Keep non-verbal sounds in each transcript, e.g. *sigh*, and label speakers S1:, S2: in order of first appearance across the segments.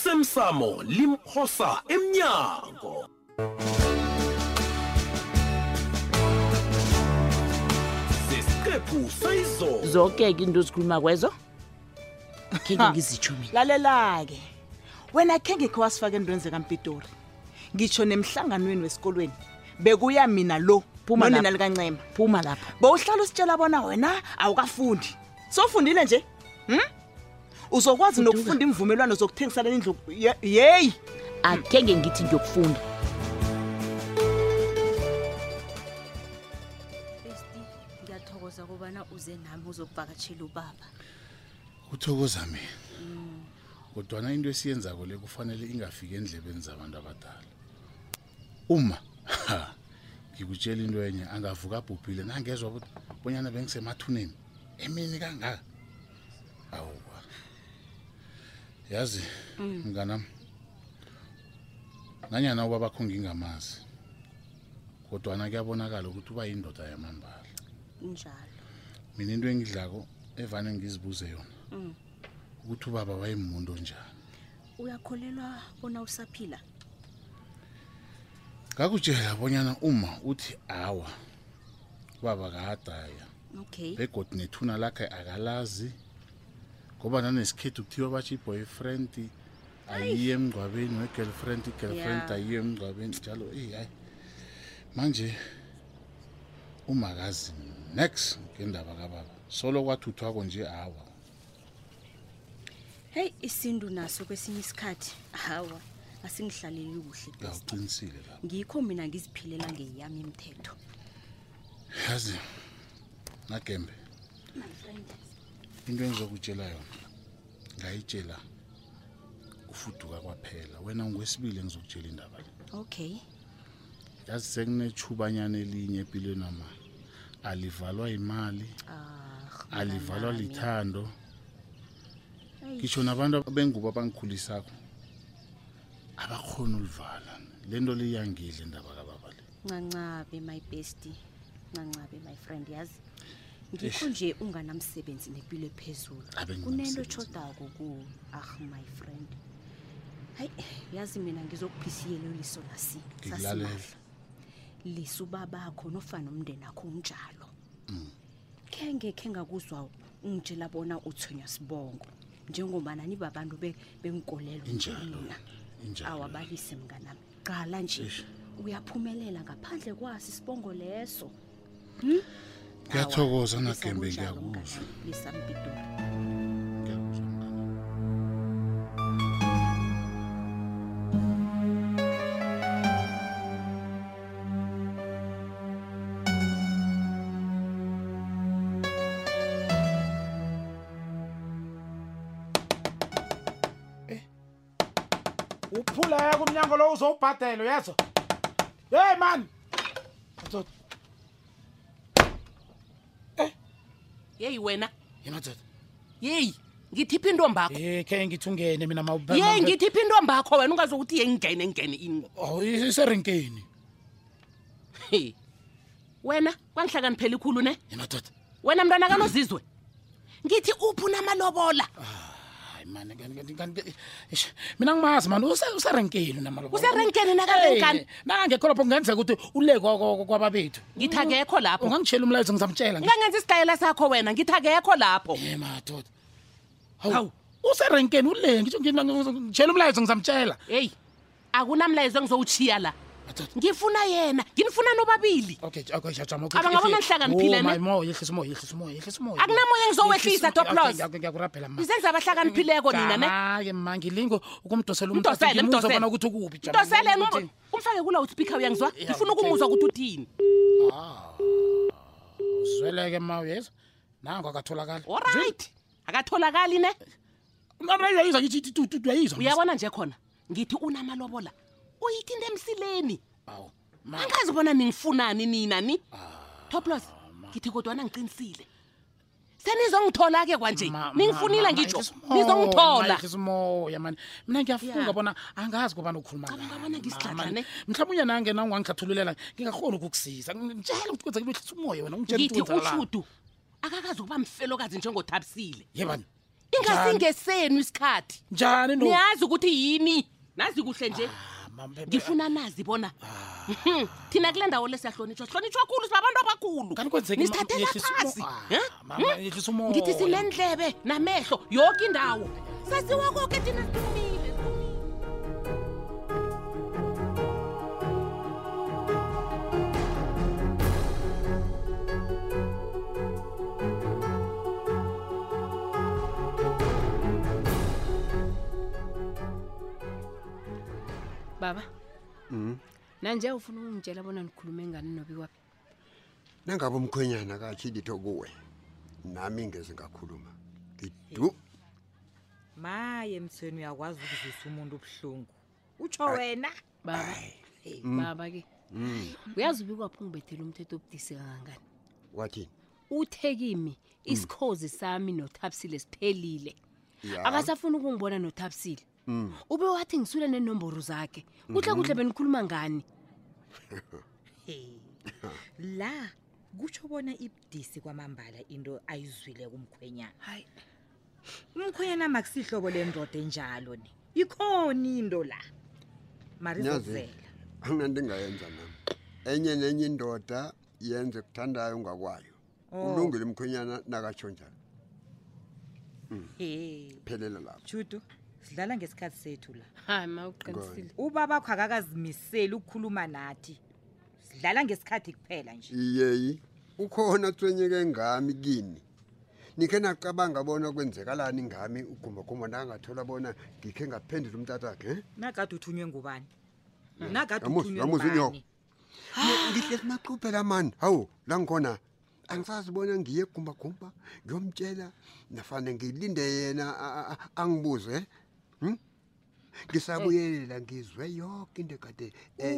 S1: osemsamo limphosa emnyango sesiqephu sayizolo
S2: zonke ke into ozikhuluma kwezo khenke
S3: Ha.
S2: ngizitsho mina
S3: lalela-ke wena khe ngikho wasifake entweni zekampidori ngitsho nemhlanganweni wesikolweni bekuya mina lo
S2: Phuma
S3: nonina
S2: lapha.
S3: likancema
S2: phuma lapha
S3: bowuhlala usitshela bona wena awukafundi sofundile nje hm? uzokwazi nokufunda imvumelwano zokuthengisana indlu Ye- yeyi
S2: akhenge ngithi ngiyokufunda
S4: besti ngiyathokoza kobana uze nami uzokuvakatshela ubaba
S5: uthokoza mina kodwana into esiyenzako le kufanele ingafiki endlebeni zabantu abadala uma ha, ngikutshela into enye angavuka abhubhile nangezwa ukuthi bonyana bengisemathuneni emini kangaka awuwa yazi mnganami nanyana ubabakho ngingamazi kodwana kuyabonakala ukuthi uba yindoda yamambala
S4: njalo
S5: mina into engidlako evane ngizibuze yona ukuthi ubaba wayemuntu njani
S4: uyakholelwa bona usaphila
S5: ngakutshela bonyana uma uthi awa ubaba kaadaya
S4: okay
S5: begodi nethuna lakhe akalazi ngoba nanesikhethu kuthiwa batsho i-boyfriend ayiye emngcwabeni we-girlfriend i-girlfriend
S4: Ya.
S5: ayiye emngcwabeni njalo eyi hayi manje umakazi next ngendaba kababa solo kwathuthwako nje awa
S4: heyi isindu naso kwesinye isikhathi hawa asingihlaleli kuhle besti
S5: ngawuqinisile la
S4: ngikho mina ngiziphilela ngeyami imithetho
S5: yazi nagembe into engizokutshela yona ngayitshela ufuduka kwaphela wena ungwesibili engizokutshela indaba le
S4: okay
S5: yazi sekunethubanyana elinye empilweni ama alivalwa yimali
S4: ah
S5: alivalwa
S4: mnganami.
S5: lithando
S4: Eish.
S5: ngisho nabantu abengubo abangikhulisakho abakhona ulivala le nto liyangidla indaba kababa le
S4: ncancabe my besti ncancabe my friend yazi ngikho nje unganamsebenzi nempilo ephezulu
S5: Abe
S4: kunento
S5: nginamsebenzi.
S4: eshodako ku ah my friend hayi yazi mina ngizokuphisiyela liso lasi
S5: Ngikulalela.
S4: sasimahla lisa ubabakho nofana umndeni akho unjalo
S5: Mm.
S4: khe ngekhe ngakuzwa ungitshela bona uthonywa sibongo njengobana nibabantu be- benkolelo nje
S5: Injalo,
S4: mina.
S5: injalo.
S4: awabalise mnganami qala nje
S5: Eish.
S4: uyaphumelela ngaphandle kwaso isibongo leso
S5: ngiyathokoza
S4: Awa,
S5: nagembe
S4: lisakunjalo
S5: ngiyakuzwa
S4: mnganami, lisampidori
S5: ngiyakuzwa mngani.
S6: uphuleka umnyango lo uzowubhadela uyazo hey mani Madoda.
S7: yeyi wena
S6: yemadoda
S7: yeyi ngithiphi intombakho
S6: eh khe ngithi ungene mina ma-
S7: yeyi
S6: ma-
S7: ngithiphi intombakho wena ungazokuthi ye ngingene ngingene inqo
S6: Oh, i- iserenkeni
S7: He. wena kwangihlakaniphela ikhulu ne
S6: yemadoda
S7: wena mntwana kanozizwe ngithi uphi unamalobola
S6: hayi mani kanti- kanti- kanti- eish, mina ngimazi mani use- userenkeni namalo
S7: Userenkeni nakarenkani?
S6: nangekho lapho kungenzeka ukuthi ulekwa kwababethu
S7: ngithi akekho lapho
S6: ungangitshela umlayezo ngizamtshela nje.
S7: ngangenza isidayela sakho wena ngithi akekho lapho
S6: Eh, madoda
S7: Hawu.
S6: hawu userenkeni ule ngitsho ngi- ngi- ngitshela umlayezo ngizamtshela
S7: heyi akunamlayezo engizowutshiya la
S6: madoda
S7: ngifuna yena nginifuna nobabili
S6: okay okay Oh, shajama
S7: Cabanga bona nihlakaniphile, ne?
S6: moya yehlisa umoya yehlisa umoya yehlisa umoya
S7: Akunamoya engizowehlisa, Top Loss.
S6: ngiyakurabhela ma
S7: izenza abahlakaniphileko nina ne
S6: hayi ma ngilingo ukumdosela
S7: Mdosele, mdosele.
S6: bona ukuthi ukuphi jama,
S7: ntoseleni
S6: ukuthi-
S7: umfake kulawo speaker uyangizwa
S6: Ya,
S7: ngifuna
S6: ngithe-
S7: ukumuzwa ukuthi uthini
S6: uzweleke ma uyeza nango akatholakali
S7: olright akatholakali ne
S6: uyayiza ngithi tututu uyayizwa
S7: uyabona nje khona ngithi unamalobola uyithinta emsileni
S6: awu ma
S7: angazi bona ningifunani nina ni
S6: Ah,
S7: toplos ngithi kodwana ngiqinisile senizongithola-ke kwanje
S6: ma- ma- ma-
S7: ningifunile
S6: ma-
S7: ngitsho
S6: yehlisa umoya, ma,
S7: nizongithola
S6: yehlisa umoya mani mina ngiyafunga
S7: Ya.
S6: bona angazi kobana ukhuluma
S7: Cabanga
S6: ngani,
S7: bona
S6: ma,
S7: ngisidladla,
S6: mani.
S7: ne?
S6: mhlawumbe unye nange naungangihlathululela ngingakhona ukukusiza njalo ukuthi kwenzeke behlisa umoya wena ungitshela
S7: ngithi
S6: ukuthi wenzakalani.
S7: ushudu akakazi ukuba mfelokazi njengothabisile
S6: yebani
S7: ingasingesenu isikhathi
S6: njani no Ah.
S7: niyazi ukuthi yini nazi kuhle nje ngifuna nazi bona Mhm. *laughs* thina kule ndawo lesiyahlonitshwa sihlonitshwa khulu sibabantu abakhulu
S6: Kanti kwenzeki, mama,
S7: nisithathela
S6: yehlisa umo-
S7: phasi
S6: Ah,
S7: Eh?
S6: mama,
S7: Mhm.
S6: yehlisa umoya.
S7: ngithi sinendlebe namehlo yoke indawo saziwa koke thina siphumile
S8: baba nanje ufuna ukungitshela bona nikhulume ngani nobiwaphi
S9: nangabe umkhwenyana kathi litho kuwe nami ngeze ngakhuluma ngidu
S10: maye mthweni uyakwazi ukuzisa umuntu ubuhlungu utsho wena
S8: baba baba ke uyazi ubikwaphi ungibethela umthetho obudisi kangangani
S9: wathini
S8: uthe kimi isikhozi sami nothapsile siphelile
S9: Ya.
S8: akasafuni ukungibona nothapsile ube wathi ngisule nenomboro zakhe kuhle kuhle benikhuluma ngani
S10: la kutsho bona ibudisi kwamambala into ayizwile kumkhwenyana
S8: hayi
S10: umkhwenyana makusihlobo lendoda enjalo ni ikhona into la
S9: Nyazi,
S10: marizozela
S9: anginanto engayenza nami enye nenye indoda yenze kuthandayo ngakwayo ulungile umkhwenyana nakatsho njalo phelela lapho
S10: judu sidlala ngesikhathi sethu la
S8: hayi ma uqinisile
S10: ubaba kho akakazimiseli ukukhuluma nathi sidlala ngesikhathi kuphela nje
S9: iyeyi ukhona tswenyeke ngami kini nikhe nacabanga bona kwenzekalani ngami ugumbagumba nangathola bona ngikhe ngaphendula umtatakhe eh?
S10: nakade uthunywe ngubani nakade
S9: Yamuzi,
S10: uthunywe
S9: yamuzi
S10: ngubani
S9: Ngi- ngihle sinaquphela mani hawu la ngikhona angisazi bona ngiye egumbagumba ngiyomtshela nafane ngilinde yena a- a- a- angibuze hm? ngisabuyelela ngizwe yoke into eh, kade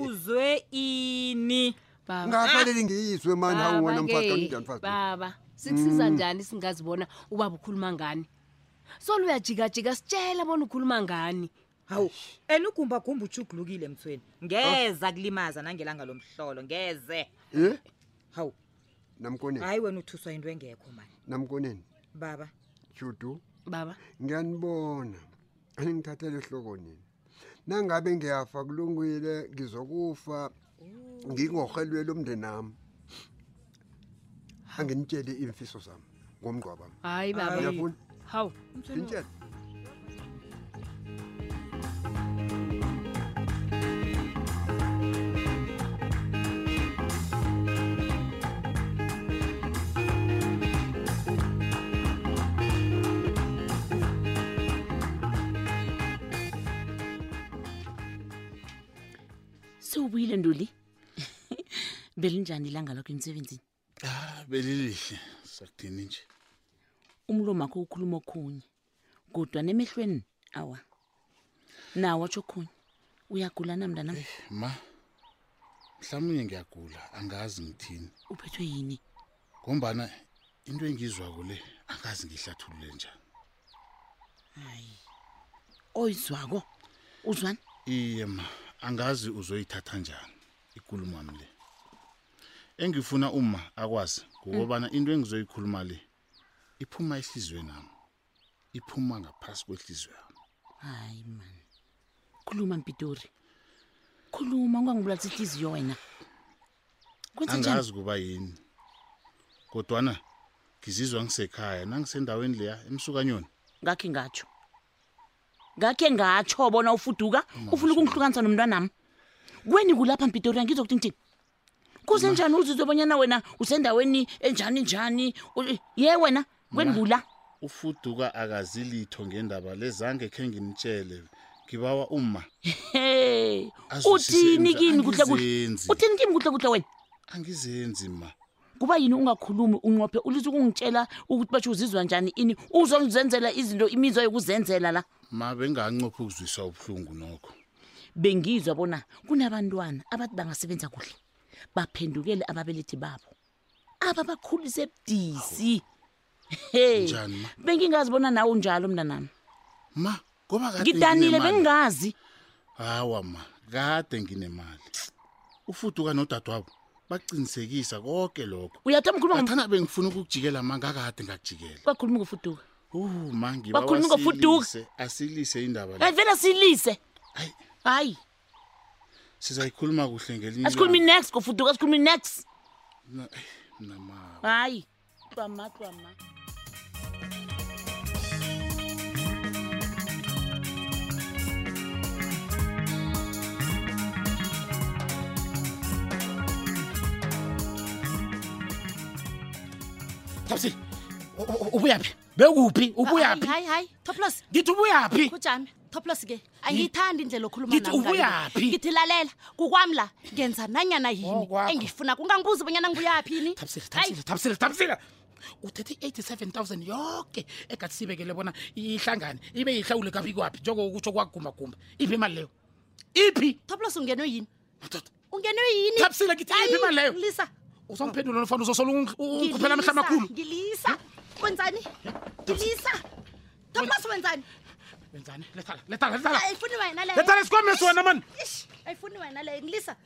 S10: uzwe ini
S8: baba
S9: ngafanele ngiyizwe mani hawu wena mfazi kanti unjani mfazi
S8: baba sikusiza njani singazibona ubaba ukhuluma ngani solo uyajikajika sitshela bona ukhuluma ngani
S10: hawu and ugumbagumba ujugulukile mthweni ngeza kulimaza nangelanga lomhlolo ngeze
S9: Eh?
S10: hawu
S9: namkoneni
S10: hayi wena uthuswa into engekho mani
S9: namkoneni
S10: baba
S9: judu
S8: baba
S9: ngiyanibona aningithathele ihloko nini nangabe ngiyafa kulungile ngizokufa ngingohelwela umndeni nami anginitshele imfiso zami ngomgqwaba
S8: hayi baba
S9: Uyafuna?
S8: hawu
S9: ngintshele
S2: sewubuyile ntoli *laughs* belinjani ilanga lakho emsebenzini
S5: ah belilihle sakudini nje
S2: umlomo wakho ukhuluma okhunye kodwa nemehlweni awa nawo atsho okhunye uyagula na mntanam
S5: ma mhlawumbe ngiyagula angazi ngithini
S2: uphethwe yini
S5: ngombana into engizwako le angazi ngihlathulule njani
S2: oyizwako uzwani
S5: iye ma angazi uzoyithatha njani ikulumo wami le engifuna
S6: um-,
S5: uma akwazi ngokubana into engizoyikhuluma le iphuma ehliziyweni nami iphuma ngaphasi kwehliziyo yami
S2: hayi mani khuluma mpitori khuluma ungangibulalisa ihliziyo wena kwenza njani
S5: angazi kuba yini kodwana ngizizwa ngisekhaya nangisendaweni leya emsukanyoni
S2: ngakhe ngatsho ngakhe ngatsho bona ufuduka ufuna ukungihlukanisa nomntwanami kweni kulapha mpitori angizokuthi ngithini kusenjani uzizwe bonyana wena usendaweni enjani njani u- ye wena kweni kula
S5: ufuduka akazilitho ngendaba lezange khe ngimtshele ngibawa uma
S2: he
S5: Azwisise
S2: uthini
S5: imizwa-
S2: kini kuhle kuhle
S5: angizenzi.
S2: uthini kimi kuhle kuhle wena
S5: angizenzi ma
S2: kuba yini ungakhulumi unqophe ulithi ukungitshela ukuthi basho uzizwa njani ini uzozenzela izinto imizwa yokuzenzela la
S5: ma bengancophi ukuzwiswa ubuhlungu nokho
S2: bengizwa bona kunabantwana abathi bangasebenza kuhle baphendukele ababelethi babo ababakhulise ebudisi he
S5: Njani ma?
S2: bengingazi bona nawe unjalo mna nami
S5: ma ngoba kade
S2: ngidanile
S5: nginemali.
S2: bengingazi
S5: hawa ma kade nginemali ufuduka nodadewabo baqinisekisa konke lokho
S2: uyathoma ukhuluma
S5: ngathana bengifuna ukukujikela ma ngakade ngakujikela
S2: kwakhuluma ngofuduka
S5: Uh, mangi
S2: Bakhuluma ngofuduka.
S5: Asilise indaba
S2: hayi
S5: le.
S2: vele silise
S5: Hayi.
S2: hayi
S5: Sizayikhuluma kuhle ngelinye.
S2: asikhulumi next ngofuduka asikhulumi next
S5: Nama.
S2: hayi twama twama
S6: Thabisile. Ubuyaphi? Bekuphi? Ubuyaphi?
S8: hayi hayi toplos
S6: Ngithi ubuyaphi?
S8: kujami toplos ke angiyithandi indlela okhuluma
S6: Ngithi
S8: nami ngayo le.
S6: ubuyaphi?
S8: ngithi lalela kukwami la ngenza nanyana yini
S6: kwakho.
S8: engifuna kungangibuza bonyana nguyaphi ni
S6: Thabisile, Thabisile, Thabisile, Thabisile. Uthethe 87000 yonke egathi sibekele bona ihlangane ibe ihlawule kaphi kwapi njengoba kutsho kwagumba gumba. Iphi imali leyo? Iphi?
S8: toplos ungenwe yini
S6: Madoda.
S8: ungenwe yini
S6: Thabisile ngithi
S8: Hayi,
S6: iphi imali leyo?
S8: ngilisa
S6: Usamphendula nofana uzosola ungi- ungikhuphela amehla
S8: Ngilisa,
S6: amakhulu.
S8: ngilisa wenzani ngilisa toplos wenzani
S6: Wenzani? Lethala, lethala, lethala.
S8: ayifuni wena le
S6: Lethala isikhwamesi wena man.
S8: Ish, ayifuni wena leyo ngilisa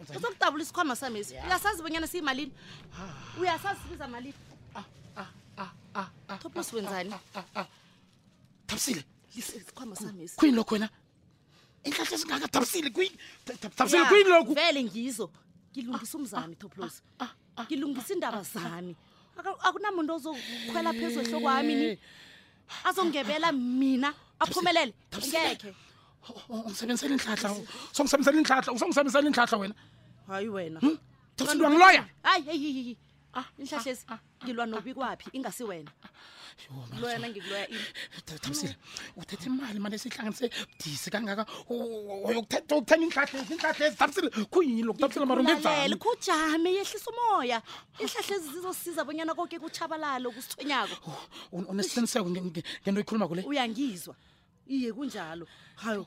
S8: uzokudabula isikhwama samesi uyasazi bonyana siyimalini uyasazi sibiza malini toplos wenzani
S6: Thabisile.
S8: isikhwama samesi
S6: Kuyini lokho wena? Inhlahla singaka Thabisile kuyini? Thabisile kuyini lokho?
S8: vele ngizo ngilungisa umzami toplos ah, ngilungisa iindaba zami Aka- akunamuntu ozokhwela phezu ehlokwami ni azongebela mina aphumelele ngekhe
S6: Ungisebenzisela inhlahla. Songisebenzisela inhlahla, usongisebenzisela inhlahla wena.
S8: hayi wena
S6: Thabisile wangiloya.
S8: Hmm? hayi heyihihi inhlahlezi ngilwa nobikwaphi ingasi wena lwena ngikuloya ini
S6: thabisile uthethe imali mane sihlanganise disi kangaka uyokuthenga iinhlahla iinhlahla ezithabisile kuyini lokhu thabisile
S8: lalele
S6: marungenzani
S8: khujame yehlisa umoya ihlahla ezi zizosiza bonyana konke kutshabalalo kusithonyako
S6: unesiqiniseko nge- nge- ngento ikhuluma kule
S8: uyangizwa iye kunjalo hayo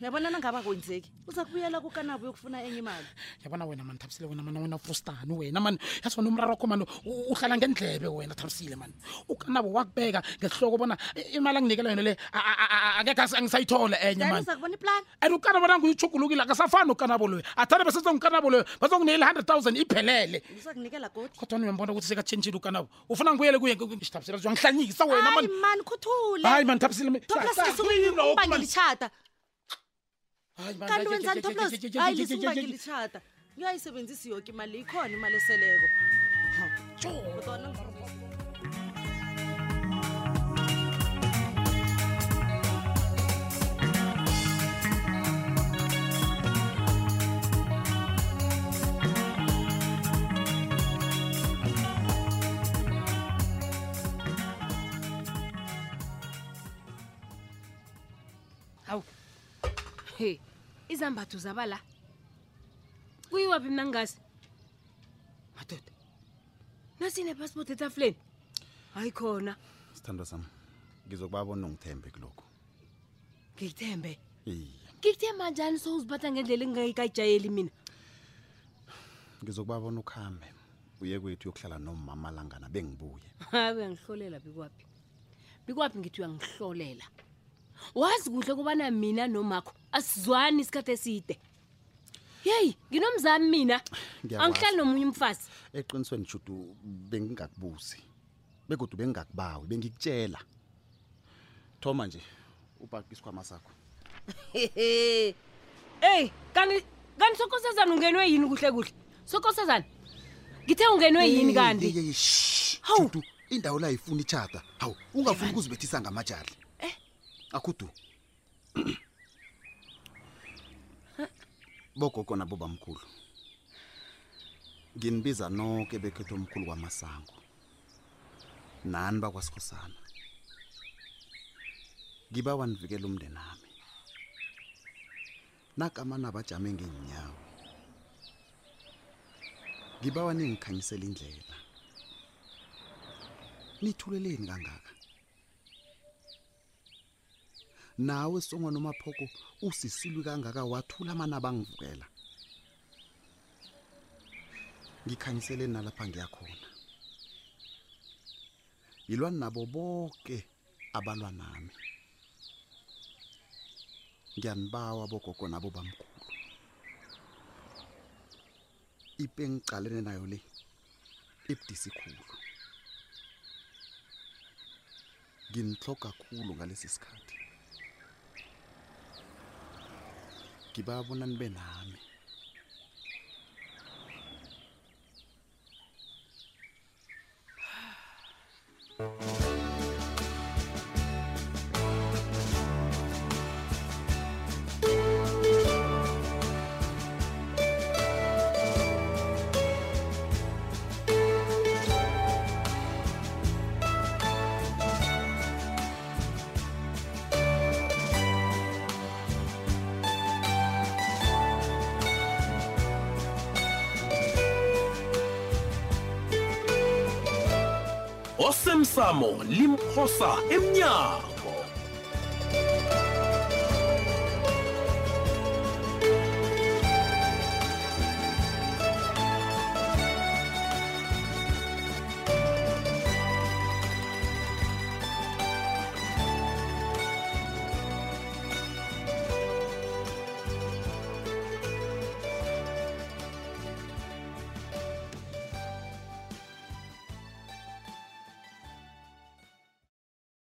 S8: uyabona nangaba kwenzeki uza kubuyela kukanabo yokufuna enye imali
S6: yabona wena mani thabisile wena mana wena frustani wena mani yazi wena umraro wakho mani u- uhlala ngendlebe wena thabisile mani ukanabo wakubeka ngesihloko bona i- imali anginikela yona le a- a- a- a- angekhe asi- angisayithole enye
S8: then
S6: mani
S8: uza kubona iplani
S6: and ukanabo nangu uyithugulukile akasafani nokanabo loyo athanda besesengukanabo loyo bazokuneyela i-hundred thousand iphelele
S8: uza kunikela godi
S6: kodwa uyambona ukuthi sekatshentshile ukanabo ufuna ngibuyele kuye sithabisela uyangihlanyisa wena
S8: hayi
S6: mani
S8: mani khuthule
S6: hayi mani thabisile
S8: toplos ngisubangilitshata kanti wenzani toplos hayi lisubangilitshata ngiyayisebenzisa yoke imali ikhona imali eseleko kodwana
S7: hawu he izambatho zaba la kuyiwaphi mna ngingazi madoda nasinepassport etafuleni hayi khona
S11: sithandwa sami ngizokubabona ungithembe kulokho
S7: ngikuthembe
S11: iye
S7: ngikuthemba njani sowuziphatha ngendlela engingayikajayeli mina
S11: ngizokubabona ukuhambe uye kwethu uyokuhlala nomama langana bengibuye
S7: hayi uyangihlolela bikwaphi bikwaphi ngithi uyangihlolela wazi kuhle kubana mina nomakho asizwani isikhathi eside yeyi nginomzami mina
S11: Ngiyawazi.
S7: angihlali nomunye umfazi
S11: eqinisweni judu bengingakubuzi begodwa bengingakubawi bengikutshela thoma nje ubhaqe isikhwama sakho
S7: hehe eyi kanti kanti sokosazana ungenwe yini kuhle kuhle sokosazana ngithe ungenwe yini kanti Hawu.
S11: judu indawo la yifuna itshata hawu ungafuni ukuzibethisa ngamajali akhudu bogogo nabo bamkhulu nginibiza noke bekhetho omkhulu kwamasango nani bakwasikhosana ngiba wanivikela umndeni nami nakamana bajame ngeenyawo ngiba waningikhanyisela indlela nithuleleni kangaka nawe songwana umaphoko usisilwi kangaka wathula amanaba angivukela ngikhangiseleni nalapha ngiyakhona yilwa nabo bonke abalwa nami ngiyanibawa bogogo nabo bamkhulu ipe engicalene nayo le ibudisi khulu nginhloka kakhulu ngalesi sikhathi ngibabona nibe nami
S1: osemsamo limphosa emnyango